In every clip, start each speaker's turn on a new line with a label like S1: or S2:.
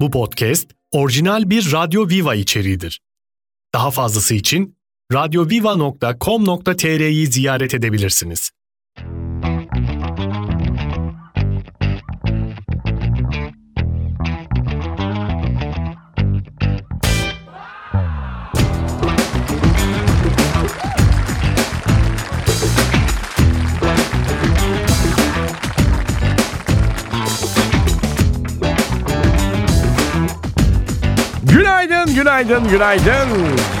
S1: Bu podcast orijinal bir Radyo Viva içeriğidir. Daha fazlası için radyoviva.com.tr'yi ziyaret edebilirsiniz.
S2: Günaydın, günaydın, günaydın.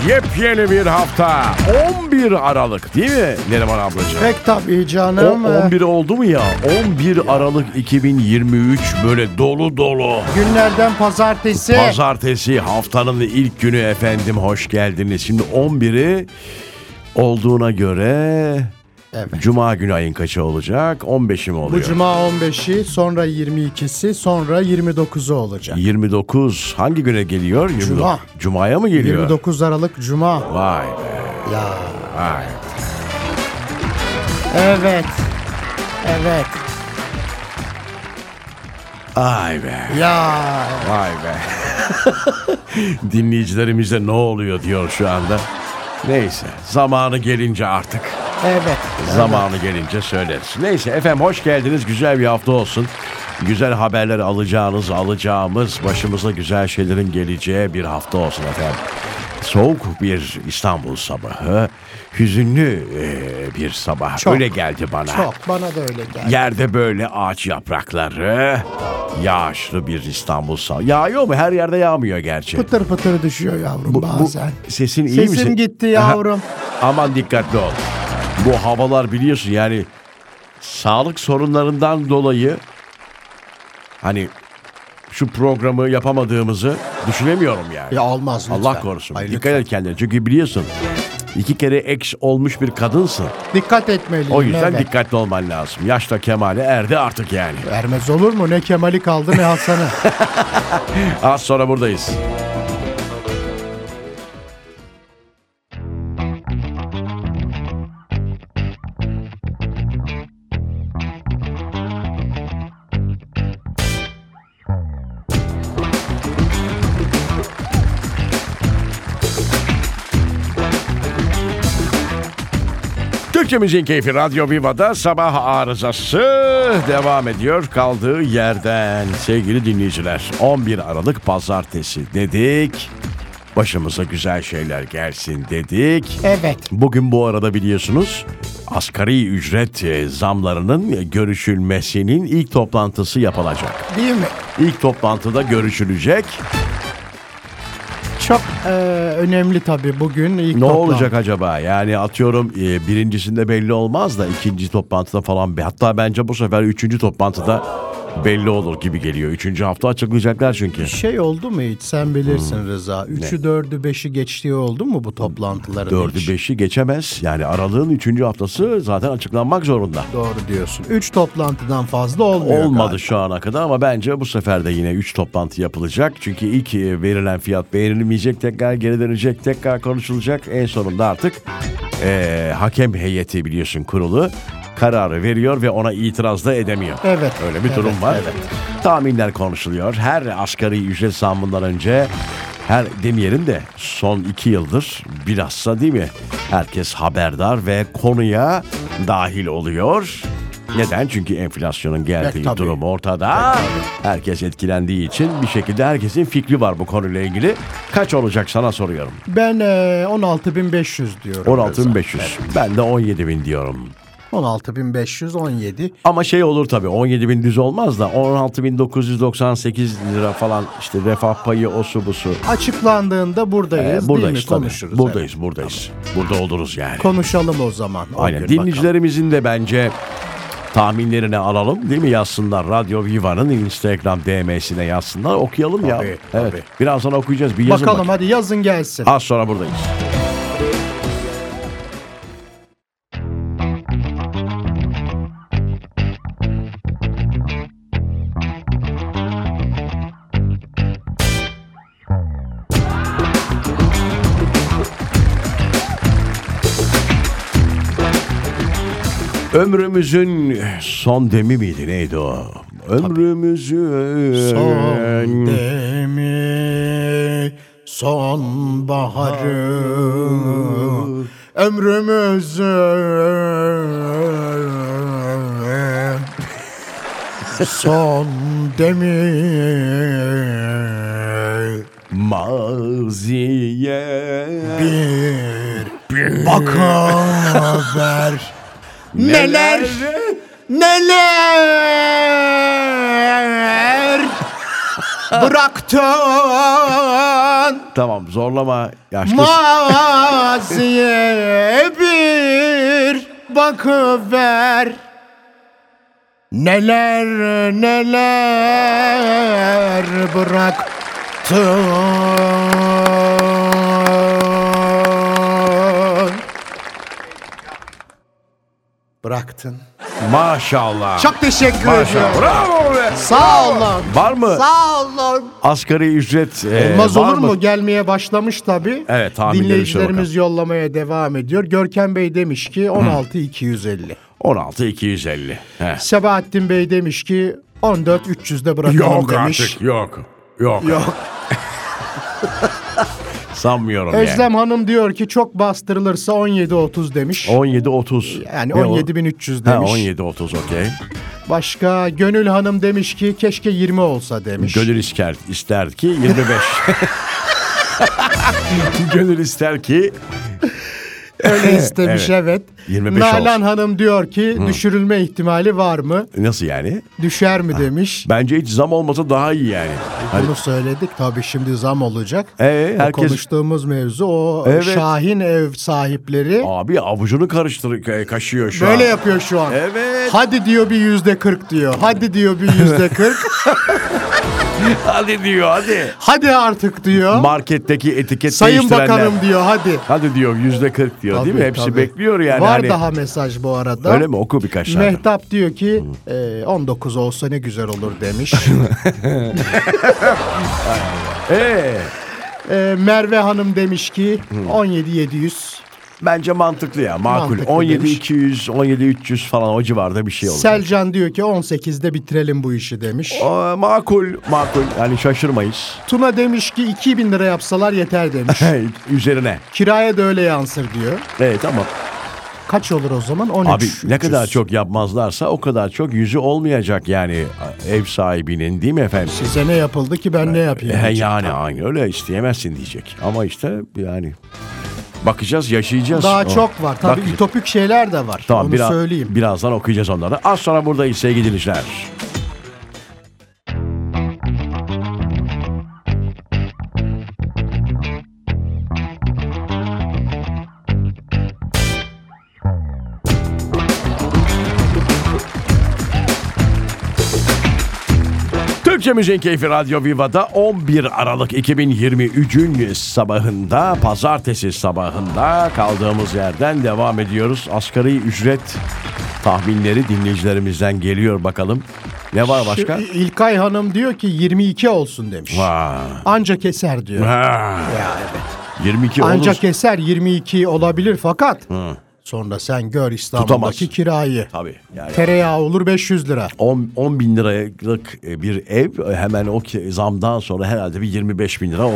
S2: Yepyeni bir hafta. 11 Aralık değil mi Neriman ablacığım?
S3: Pek tabii
S2: O
S3: canım.
S2: 11 oldu mu ya? 11 Aralık 2023 böyle dolu dolu.
S3: Günlerden pazartesi.
S2: Pazartesi haftanın ilk günü efendim hoş geldiniz. Şimdi 11'i olduğuna göre
S3: Evet.
S2: Cuma günü ayın kaçı olacak? 15'i mi
S3: Bu
S2: oluyor?
S3: cuma 15'i, sonra 22'si, sonra 29'u olacak.
S2: 29 hangi güne geliyor? 29. Cuma'ya mı geliyor?
S3: 29 Aralık Cuma.
S2: Vay be.
S3: Ya.
S2: Vay.
S3: Evet. Evet.
S2: Ay be.
S3: Ya.
S2: Vay be. Dinleyicilerimize ne oluyor diyor şu anda. Neyse zamanı gelince artık.
S3: Evet.
S2: Zamanı gelince söyleriz. Neyse efendim hoş geldiniz. Güzel bir hafta olsun. Güzel haberler alacağınız, alacağımız, başımıza güzel şeylerin geleceği bir hafta olsun efendim. Soğuk bir İstanbul sabahı, hüzünlü e, bir sabah.
S3: Çok,
S2: Öyle geldi bana.
S3: Çok. Bana da öyle geldi.
S2: Yerde böyle ağaç yaprakları. Yağışlı bir İstanbul sabahı. Yağıyor mu? Her yerde yağmıyor gerçi.
S3: Pıtır pıtır düşüyor yavrum
S2: Bu- bu
S3: bazen.
S2: sesin iyi mi?
S3: Sesim gitti yavrum.
S2: Aman dikkatli ol. Bu havalar biliyorsun yani sağlık sorunlarından dolayı hani şu programı yapamadığımızı düşünemiyorum yani.
S3: ya olmaz lütfen.
S2: Allah korusun.
S3: Hayır,
S2: Dikkat et kendine. Çünkü biliyorsun iki kere ex olmuş bir kadınsın.
S3: lütfen. Dikkat etmeliyim.
S2: O yüzden
S3: evet.
S2: dikkatli olman lazım. Yaşta kemale erdi artık yani.
S3: Vermez olur mu? Ne Kemal'i kaldı ne Hasan'ı.
S2: Az sonra buradayız. Türkçe Müziğin Keyfi Radyo Viva'da sabah arızası devam ediyor kaldığı yerden. Sevgili dinleyiciler 11 Aralık Pazartesi dedik. Başımıza güzel şeyler gelsin dedik.
S3: evet.
S2: Bugün bu arada biliyorsunuz asgari ücret e, zamlarının görüşülmesinin ilk toplantısı yapılacak.
S3: Değil mi?
S2: İlk toplantıda görüşülecek.
S3: Çok e, önemli tabii bugün. ilk
S2: Ne
S3: toplantı.
S2: olacak acaba? Yani atıyorum e, birincisinde belli olmaz da ikinci toplantıda falan. be- Hatta bence bu sefer üçüncü toplantıda belli olur gibi geliyor. Üçüncü hafta açıklayacaklar çünkü.
S3: Şey oldu mu hiç? Sen bilirsin
S2: Hmm.
S3: Rıza. 3'ü 4'ü 5'i geçtiği oldu mu bu toplantıların? hiç?
S2: Dördü beşi geçemez. Yani aralığın üçüncü haftası zaten açıklanmak zorunda.
S3: Doğru diyorsun. 3 toplantıdan fazla olmuyor.
S2: Olmadı
S3: galiba.
S2: şu ana kadar ama bence bu sefer de yine 3 toplantı yapılacak. Çünkü ilk e, verilen fiyat beğenilmeyecek, tekrar geri dönecek, tekrar konuşulacak. En sonunda artık e, hakem heyeti biliyorsun kurulu kararı veriyor ve ona itiraz da edemiyor.
S3: Evet.
S2: Öyle bir durum
S3: evet,
S2: var.
S3: evet.
S2: Tahminler konuşuluyor. Her asgari ücret zammından önce her demeyelim de son iki yıldır bilhassa değil mi? Herkes haberdar ve konuya dahil oluyor. Neden? Çünkü enflasyonun geldiği
S3: Evet, tabii.
S2: durum ortada. Herkes etkilendiği için bir şekilde herkesin fikri var bu konuyla ilgili. Kaç olacak sana soruyorum.
S3: Ben e, 16500 diyorum. Rıza.
S2: 16.500. Ben de 17.000 diyorum.
S3: 16517.
S2: Ama şey olur tabii 17 bin düz olmaz da 16.998 lira falan işte refah payı o su bu su.
S3: Açıklandığında buradayız.
S2: Ee,
S3: değil mi?
S2: buradayız tabii.
S3: Konuşuruz.
S2: buradayız
S3: evet.
S2: buradayız. Burada oluruz yani.
S3: Konuşalım o zaman. o
S2: Aynen
S3: gün
S2: dinleyicilerimizin de bence tahminlerini alalım değil mi yazsınlar Radyo Viva'nın Instagram DM'sine yazsınlar okuyalım ya.
S3: Tabii,
S2: Evet.
S3: tabii.
S2: Birazdan okuyacağız bir yazın
S3: Bakalım, bakalım
S2: bakayım.
S3: hadi yazın gelsin.
S2: Az sonra buradayız. Ömrümüzün son demi miydi neydi o? Ömrümüzü
S3: Son demi sonbaharı ömrümüzü son demi
S2: maziye
S3: bir bakıver neler neler bıraktın
S2: Tamam zorlama yaşlı.
S3: Maziye bir bakıver Neler neler bıraktın Bıraktın.
S2: Maşallah.
S3: Çok teşekkür
S2: Maşallah.
S3: ediyorum.
S2: Bravo be.
S3: Sağ olun.
S2: Var mı
S3: Sağ olun.
S2: asgari ücret? e,
S3: Olmaz
S2: var
S3: olur mu? Gelmeye başlamış tabii.
S2: Evet, tahminleri şey
S3: Dinleyicilerimiz yollamaya devam ediyor. Görkem Bey demiş ki 16250.
S2: 16 250. Heh.
S3: Sebahattin Bey demiş ki 14300'de bırakalım
S2: Yok
S3: demiş.
S2: artık yok. Yok.
S3: Yok.
S2: Sanmıyorum
S3: Özlem Hanım diyor ki çok bastırılırsa 1730 demiş.
S2: yani. 17.30.
S3: yani
S2: Ne o?
S3: 17300
S2: Ha,
S3: demiş.
S2: 17.30 okey.
S3: Başka Gönül Hanım demiş ki keşke 20 olsa demiş.
S2: Gönül ister, ister ki 25. Gönül ister ki
S3: Öyle istemiş evet.
S2: 25
S3: Nalan
S2: olsun.
S3: Hanım diyor ki düşürülme ihtimali var mı?
S2: nasıl yani?
S3: Düşer mi demiş.
S2: Bence hiç zam olmasa daha iyi yani. Hani
S3: Bunu söyledik tabii şimdi zam olacak.
S2: Ee,
S3: O
S2: herkes-
S3: Konuştuğumuz mevzu o
S2: Evet.
S3: Şahin ev sahipleri
S2: abi avucunu karıştır ka- kaşıyor şu
S3: böyle
S2: an.
S3: yapıyor şu an.
S2: Evet.
S3: Hadi diyor bir yüzde kırk diyor. Hadi diyor bir yüzde kırk.
S2: Hadi diyor hadi.
S3: Hadi artık diyor.
S2: Marketteki etiket
S3: Sayın
S2: değiştirenler.
S3: Bakanım diyor hadi.
S2: Hadi diyor yüzde kırk diyor değil mi?
S3: Tabii,
S2: Hepsi
S3: tabii.
S2: bekliyor yani.
S3: Var
S2: hani.
S3: daha mesaj bu arada.
S2: Öyle mi? Oku birkaç tane.
S3: Mehtap diyor ki e, 19 olsa ne güzel olur demiş.
S2: Ee,
S3: E, Merve Hanım demiş ki 17 700.
S2: bence mantıklı ya. Makul.
S3: Mantıklı
S2: 17
S3: demiş.
S2: 200, 17 300 falan o civarda bir şey olur.
S3: Selcan diyor ki 18'de bitirelim bu işi demiş.
S2: Aa, makul, makul. Yani şaşırmayız.
S3: Tuna demiş ki 2000 lira yapsalar yeter demiş.
S2: Hey, Üzerine.
S3: Kiraya da öyle yansır diyor.
S2: Evet ama
S3: Kaç olur o zaman? 13.
S2: abi ne
S3: 300.
S2: kadar çok yapmazlarsa o kadar çok yüzü olmayacak yani ev sahibinin değil mi efendim? E,
S3: Size ne yapıldı ki ben ne yapayım?
S2: He yani aynı öyle isteyemezsin diyecek. Ama işte yani bakacağız yaşayacağız. Oh.
S3: Daha
S2: O-
S3: çok var. Tabii
S2: Bakacağız.
S3: ütopik şeyler de var.
S2: Tamam
S3: Onu
S2: biraz,
S3: söyleyeyim.
S2: birazdan okuyacağız onları. Az sonra buradayız sevgili dinleyiciler. Türkçe Müziğin Keyfi Radyo Viva'da 11 Aralık 2023'ün sabahında, pazartesi sabahında kaldığımız yerden devam ediyoruz. Asgari ücret tahminleri dinleyicilerimizden geliyor bakalım. Ne var başka?
S3: Şu İlkay Hanım diyor ki 22 olsun demiş.
S2: Vaa.
S3: Anca keser diyor.
S2: Ha. 22 olur.
S3: Anca keser 22 olabilir fakat sonra sen gör İstanbul'daki
S2: Tutamaz.
S3: kirayı.
S2: Tabii. Yani.
S3: Tereyağı olur 500 lira.
S2: 10, 10 bin liralık e, bir ev hemen o ki- zamdan sonra herhalde bir 25 bin lira olur.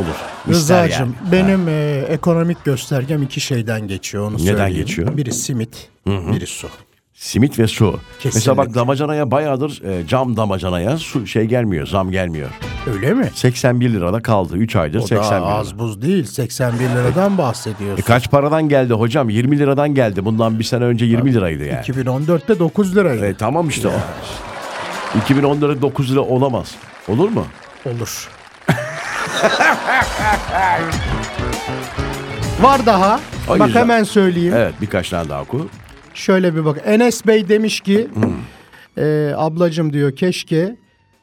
S2: İster yani.
S3: Rıza'cığım benim e, ekonomik göstergem iki şeyden geçiyor onu söyleyeyim.
S2: geçiyor?
S3: Biri simit, biri su.
S2: Simit ve su.
S3: Kesinlikle.
S2: Mesela bak damacanaya bayağıdır e, cam damacanaya su şey gelmiyor, zam gelmiyor.
S3: Öyle mi?
S2: 81 lirada kaldı 3 aydır
S3: O
S2: 81
S3: da
S2: lira.
S3: az buz değil. 81 liradan bahsediyorsun.
S2: E, kaç paradan geldi hocam? 20 liradan geldi. Bundan bir sene önce 20 liraydı yani.
S3: 2014'te 9 liraydı.
S2: E, tamam işte o. 2010 lira 9 lira olamaz. Olur mu?
S3: Olur. Var daha.
S2: Ay,
S3: bak
S2: güzel.
S3: hemen söyleyeyim.
S2: Evet birkaç tane daha oku.
S3: Şöyle bir bak. Enes Bey demiş ki
S2: Hmm.
S3: e, ablacım diyor keşke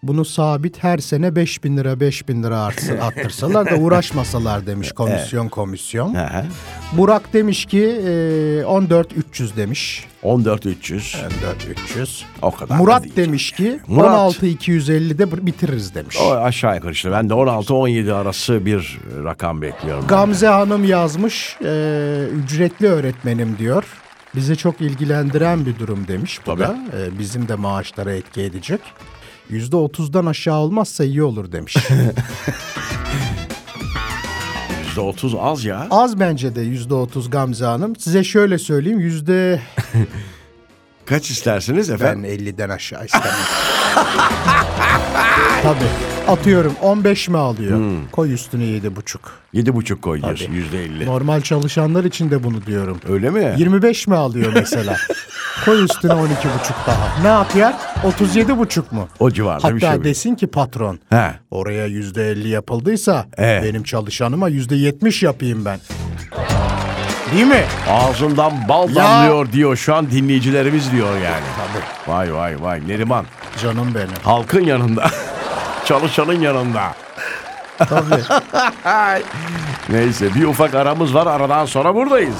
S3: bunu sabit her sene 5000 lira 5000 lira artsın, arttırsalar da uğraşmasalar demiş komisyon komisyon.
S2: Hı hı.
S3: Burak demiş ki e, 14 300 demiş.
S2: 14 300.
S3: 14 300.
S2: O kadar. da
S3: Murat
S2: değil.
S3: demiş ki
S2: Murat.
S3: 16 250'de bir- bitiririz demiş.
S2: O aşağı yukarı işte. Ben de 16-17 arası bir rakam bekliyorum.
S3: Gamze Hanım yazmış e, ücretli öğretmenim diyor. Bizi çok ilgilendiren bir durum demiş bu "Ee,
S2: Tabii.
S3: da. E, bizim de maaşlara etki edecek. Yüzde otuzdan aşağı olmazsa iyi olur demiş.
S2: %30 az ya.
S3: Az bence de yüzde otuz Gamze Hanım. Size şöyle söyleyeyim yüzde
S2: Kaç istersiniz
S3: ben
S2: efendim?
S3: 50'den aşağı istemem. Tabii. Atıyorum 15 mi alıyor? Koy üstüne 7,5.
S2: Yedi buçuk koy diyorsun yüzde elli.
S3: Normal çalışanlar için de bunu diyorum.
S2: Öyle mi?
S3: 25 mi alıyor mesela? Koy üstüne 12,5 daha. Ne yapıyor? 37,5 mu?
S2: O civarda
S3: Hatta
S2: bir şey. mi?
S3: desin ki patron.
S2: He.
S3: Oraya %50 yapıldıysa
S2: Ee?
S3: benim çalışanıma %70 yapayım ben. Değil mi?
S2: Ağzından bal
S3: Ya.
S2: damlıyor diyor şu an dinleyicilerimiz diyor yani. Tabii. Vay vay vay Neriman.
S3: Canım benim.
S2: Halkın yanında. Çalışanın yanında.
S3: Tabii.
S2: Neyse bir ufak aramız var aradan sonra buradayız.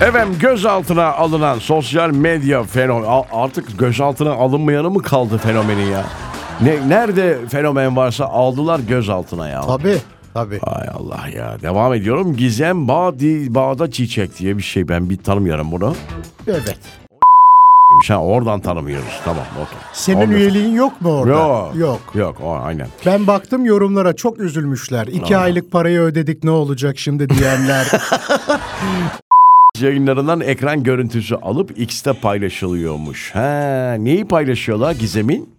S2: Efendim gözaltına alınan sosyal medya fenomen artık gözaltına alınmayanı mı kaldı fenomeni ya? Ne, nerede fenomen varsa aldılar gözaltına ya.
S3: tabii. Tabii.
S2: Ay Allah ya. Devam ediyorum. Gizem Bağdi, Bağda Çiçek diye bir şey. Ben bir tanımıyorum bunu.
S3: Evet.
S2: Ha, oradan tanımıyoruz. Tamam. okey.
S3: Senin
S2: Olmuyor.
S3: üyeliğin yok mu orada?
S2: Yok.
S3: Yok.
S2: Yok. O, aynen.
S3: Ben baktım yorumlara çok üzülmüşler. İki aylık parayı ödedik ne olacak şimdi diyenler.
S2: yayınlarından ekran görüntüsü alıp X'te paylaşılıyormuş. Ha, neyi paylaşıyorlar Gizem'in?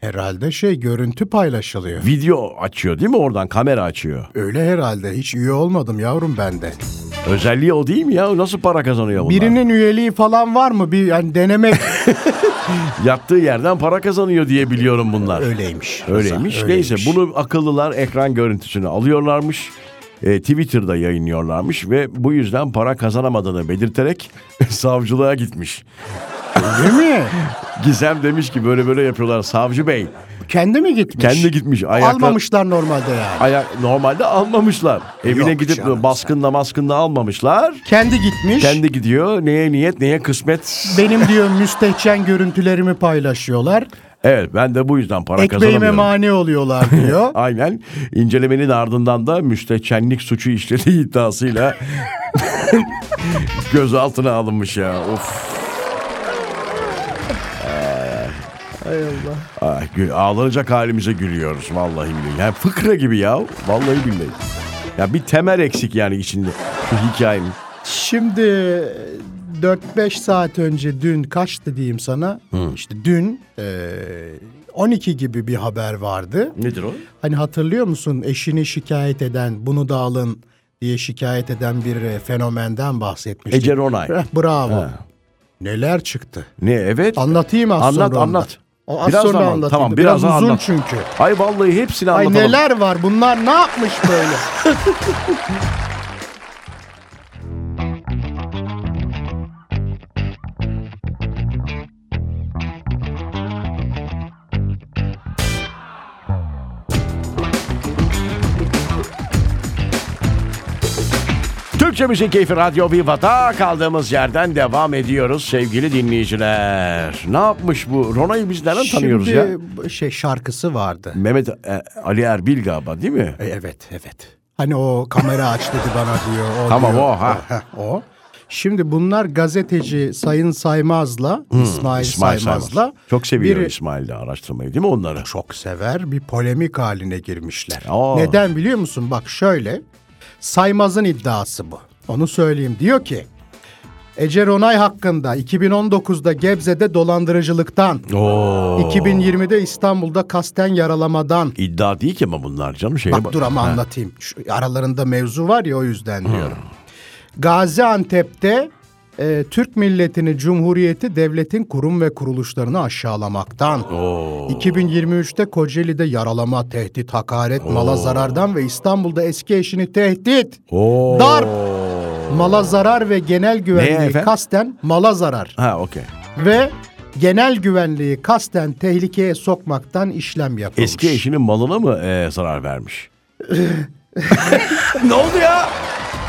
S3: herhalde şey görüntü paylaşılıyor.
S2: Video açıyor değil mi oradan kamera açıyor.
S3: Öyle herhalde. Hiç üye olmadım yavrum ben de.
S2: Özelliği o değil mi ya? Nasıl para kazanıyor bunlar?
S3: Birinin üyeliği falan var mı? Bir yani denemek
S2: Yattığı yerden para kazanıyor diye biliyorum bunlar.
S3: öyleymiş.
S2: Öyleymiş.
S3: Rıza,
S2: Neyse bunu akıllılar ekran görüntüsünü alıyorlarmış. E, Twitter'da yayınlıyorlarmış ve bu yüzden para kazanamadığını belirterek savcılığa gitmiş.
S3: Değil mi?
S2: Gizem demiş ki böyle böyle yapıyorlar savcı bey.
S3: Kendi mi gitmiş?
S2: Kendi gitmiş. Ayakla,
S3: Almamışlar normalde yani.
S2: Ayak, normalde almamışlar. Evine
S3: Yok
S2: gidip
S3: canım
S2: baskında maskında almamışlar.
S3: Kendi gitmiş.
S2: Kendi gidiyor. Neye niyet neye kısmet.
S3: Benim diyor müstehcen görüntülerimi paylaşıyorlar.
S2: Evet ben de bu yüzden para
S3: Ekmeğime
S2: kazanamıyorum.
S3: mani oluyorlar diyor.
S2: Aynen. İncelemenin ardından da müstehcenlik suçu işlediği iddiasıyla gözaltına alınmış ya. Of. Ay Allah. ağlanacak halimize gülüyoruz vallahi billahi. Yani fıkra gibi ya. Vallahi billahi. Ya bir temel eksik yani içinde şu hikayenin.
S3: Şimdi 4-5 saat önce dün kaçtı diyeyim sana. İşte dün e, 12 gibi bir haber vardı.
S2: Nedir o?
S3: Hani hatırlıyor musun eşini şikayet eden bunu da alın diye şikayet eden bir e, fenomenden bahsetmiştik.
S2: Ece Ronay.
S3: Eh, Bravo. Neler çıktı?
S2: Ne evet.
S3: Anlatayım az
S2: Anlat,
S3: sonra. onu da.
S2: anlat.
S3: O Az
S2: Biraz
S3: sonra
S2: zaman,
S3: anlatayım.
S2: tamam,
S3: da.
S2: biraz
S3: biraz,
S2: daha
S3: uzun
S2: anlat.
S3: çünkü.
S2: Ay vallahi hepsini
S3: Ay
S2: anlatalım.
S3: neler var bunlar ne yapmış böyle?
S2: Türkçe Müzik Keyfi Radyo Viva'da kaldığımız yerden devam ediyoruz sevgili dinleyiciler. Ne yapmış bu? Rona'yı biz nereden tanıyoruz
S3: Şimdi
S2: ya?
S3: bu şey şarkısı vardı.
S2: Mehmet e, Ali Erbil galiba değil mi?
S3: E, Evet, evet. Hani o kamera aç dedi bana diyor. O
S2: Tamam,
S3: diyor,
S2: o, ha.
S3: heh, O. Şimdi bunlar gazeteci Sayın Saymaz'la, İsmail,
S2: Hmm, İsmail Saymaz.
S3: Saymaz'la
S2: Çok seviyor
S3: bir-
S2: İsmail de araştırmayı değil mi onları?
S3: çok sever bir polemik haline girmişler.
S2: Aa.
S3: Neden biliyor musun? Bak şöyle. Saymaz'ın iddiası bu. Onu söyleyeyim. Diyor ki Ece Ronay hakkında 2019'da Gebze'de dolandırıcılıktan,
S2: Oo.
S3: 2020'de İstanbul'da kasten yaralamadan
S2: İddia değil ki ama bunlar canım şeye
S3: Bak dur ama
S2: Ha.
S3: anlatayım. Şu aralarında mevzu var ya o yüzden diyorum. Gaziantep'te e, Türk milletini, cumhuriyeti, devletin kurum ve kuruluşlarını aşağılamaktan, 2023'te Kocaeli'de yaralama, tehdit, hakaret, mala zarardan ve İstanbul'da eski eşini tehdit,
S2: Oo.
S3: darp, mala zarar ve genel güvenliği
S2: efendim?
S3: kasten mala zarar
S2: Ha okey.
S3: ve genel güvenliği kasten tehlikeye sokmaktan işlem yapılmış.
S2: Eski eşinin malına mı e, zarar vermiş? ne oldu ya?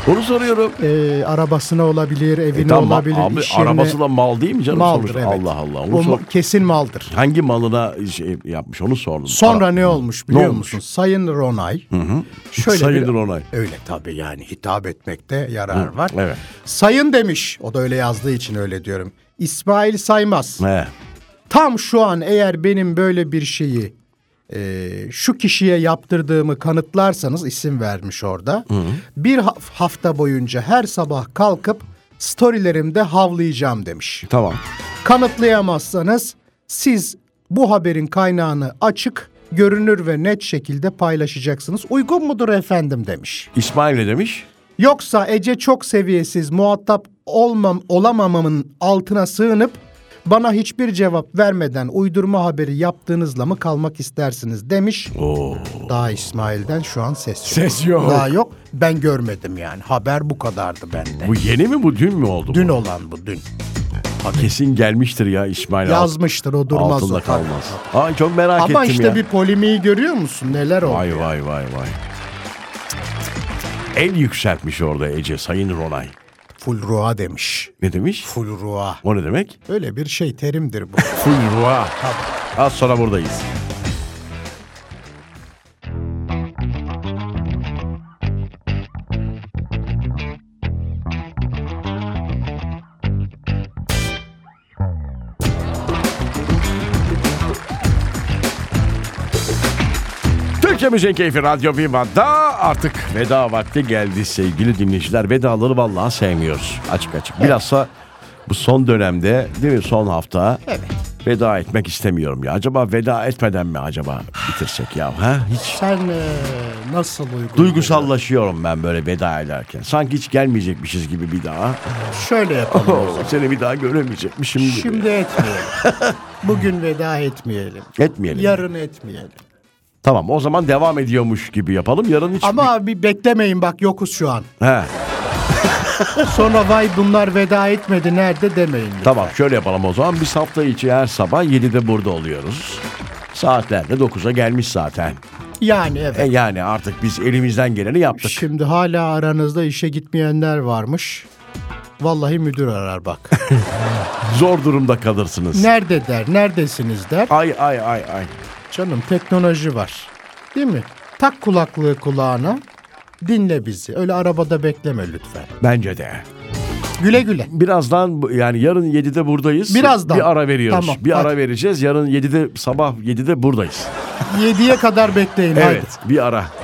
S2: Onu soruyorum. E,
S3: Ee, arabasına olabilir, evine
S2: Tamam,
S3: olabilir,
S2: abi,
S3: iş yerine.
S2: arabası da mal değil mi canım?
S3: maldır
S2: sonuçta?
S3: evet.
S2: Allah Allah. Onu
S3: O
S2: sor-
S3: ma- kesin maldır.
S2: Hangi malına şey yapmış onu sordum.
S3: Sonra
S2: Ara-
S3: ne olmuş biliyor
S2: olmuş?
S3: musun? Sayın Ronay. Şöyle
S2: Sayın
S3: bir-
S2: Ronay.
S3: Öyle tabii yani hitap etmekte yarar var.
S2: evet.
S3: Sayın demiş. O da öyle yazdığı için öyle diyorum. İsmail Saymaz.
S2: He.
S3: Tam şu an eğer benim böyle bir şeyi e, şu kişiye yaptırdığımı kanıtlarsanız isim vermiş orada. Bir haf- hafta boyunca her sabah kalkıp storylerimde havlayacağım demiş.
S2: Tamam.
S3: Kanıtlayamazsanız siz bu haberin kaynağını açık, görünür ve net şekilde paylaşacaksınız. Uygun mudur efendim demiş.
S2: İsmail ne demiş?
S3: Yoksa Ece çok seviyesiz muhatap olmam olamamamın altına sığınıp bana hiçbir cevap vermeden uydurma haberi yaptığınızla mı kalmak istersiniz demiş. Daha İsmail'den şu an ses yok.
S2: Ses yok.
S3: Daha yok. Ben görmedim yani. Haber bu kadardı bende.
S2: Bu yeni mi bu dün mü oldu?
S3: Dün olan bu dün.
S2: bu? Kesin gelmiştir ya İsmail. Alt-
S3: Yazmıştır o durmaz
S2: Altında
S3: o.
S2: kalmaz. Ay çok merak ettim
S3: Ama işte
S2: ya.
S3: bir polemiği görüyor musun? Neler oldu?
S2: Vay vay vay vay. El yükseltmiş orada Ece Sayın Ronay.
S3: Full ruha demiş.
S2: Ne demiş?
S3: Full ruha.
S2: O ne demek?
S3: Öyle bir şey terimdir bu.
S2: Fulva. Az sonra buradayız. Türkçe Müziğin Keyfi Radyo Viva'da artık veda vakti geldi sevgili dinleyiciler. Vedaları vallahi sevmiyoruz açık açık. Bilhassa bu son dönemde değil mi son hafta veda etmek istemiyorum ya. Acaba veda etmeden mi acaba bitirsek ya? Ha? Hiç
S3: Sen e, nasıl uygun?
S2: duygusallaşıyorum ben böyle veda ederken. Sanki hiç gelmeyecekmişiz gibi bir daha.
S3: Şöyle yapalım.
S2: Seni bir daha göremeyecekmişim gibi.
S3: Şimdi etmeyelim. Bugün veda etmeyelim.
S2: Etmeyelim.
S3: Yarın etmeyelim.
S2: Tamam o zaman devam ediyormuş gibi yapalım. Yarın hiç...
S3: Ama bir beklemeyin bak yokuz şu an.
S2: He.
S3: Sonra vay bunlar veda etmedi nerede demeyin.
S2: Tamam şöyle yapalım o zaman. Biz hafta içi her sabah 7'de burada oluyoruz. Saatlerde 9'a gelmiş zaten.
S3: Yani
S2: E
S3: evet.
S2: yani artık biz elimizden geleni yaptık.
S3: Şimdi hala aranızda işe gitmeyenler varmış. Vallahi müdür arar bak.
S2: Zor durumda kalırsınız.
S3: Nerede der, neredesiniz der.
S2: Ay ay ay ay.
S3: Canım teknoloji var. Değil mi? Tak kulaklığı kulağına. Dinle bizi. Öyle arabada bekleme lütfen.
S2: Bence de.
S3: Güle güle.
S2: Birazdan bu- yani yarın 7'de buradayız.
S3: Birazdan.
S2: Bir ara veriyoruz.
S3: Tamam,
S2: bir
S3: hadi.
S2: ara vereceğiz. Yarın 7'de sabah 7'de buradayız.
S3: 7'ye kadar bekleyin.
S2: Evet.
S3: Haydi.
S2: Bir ara.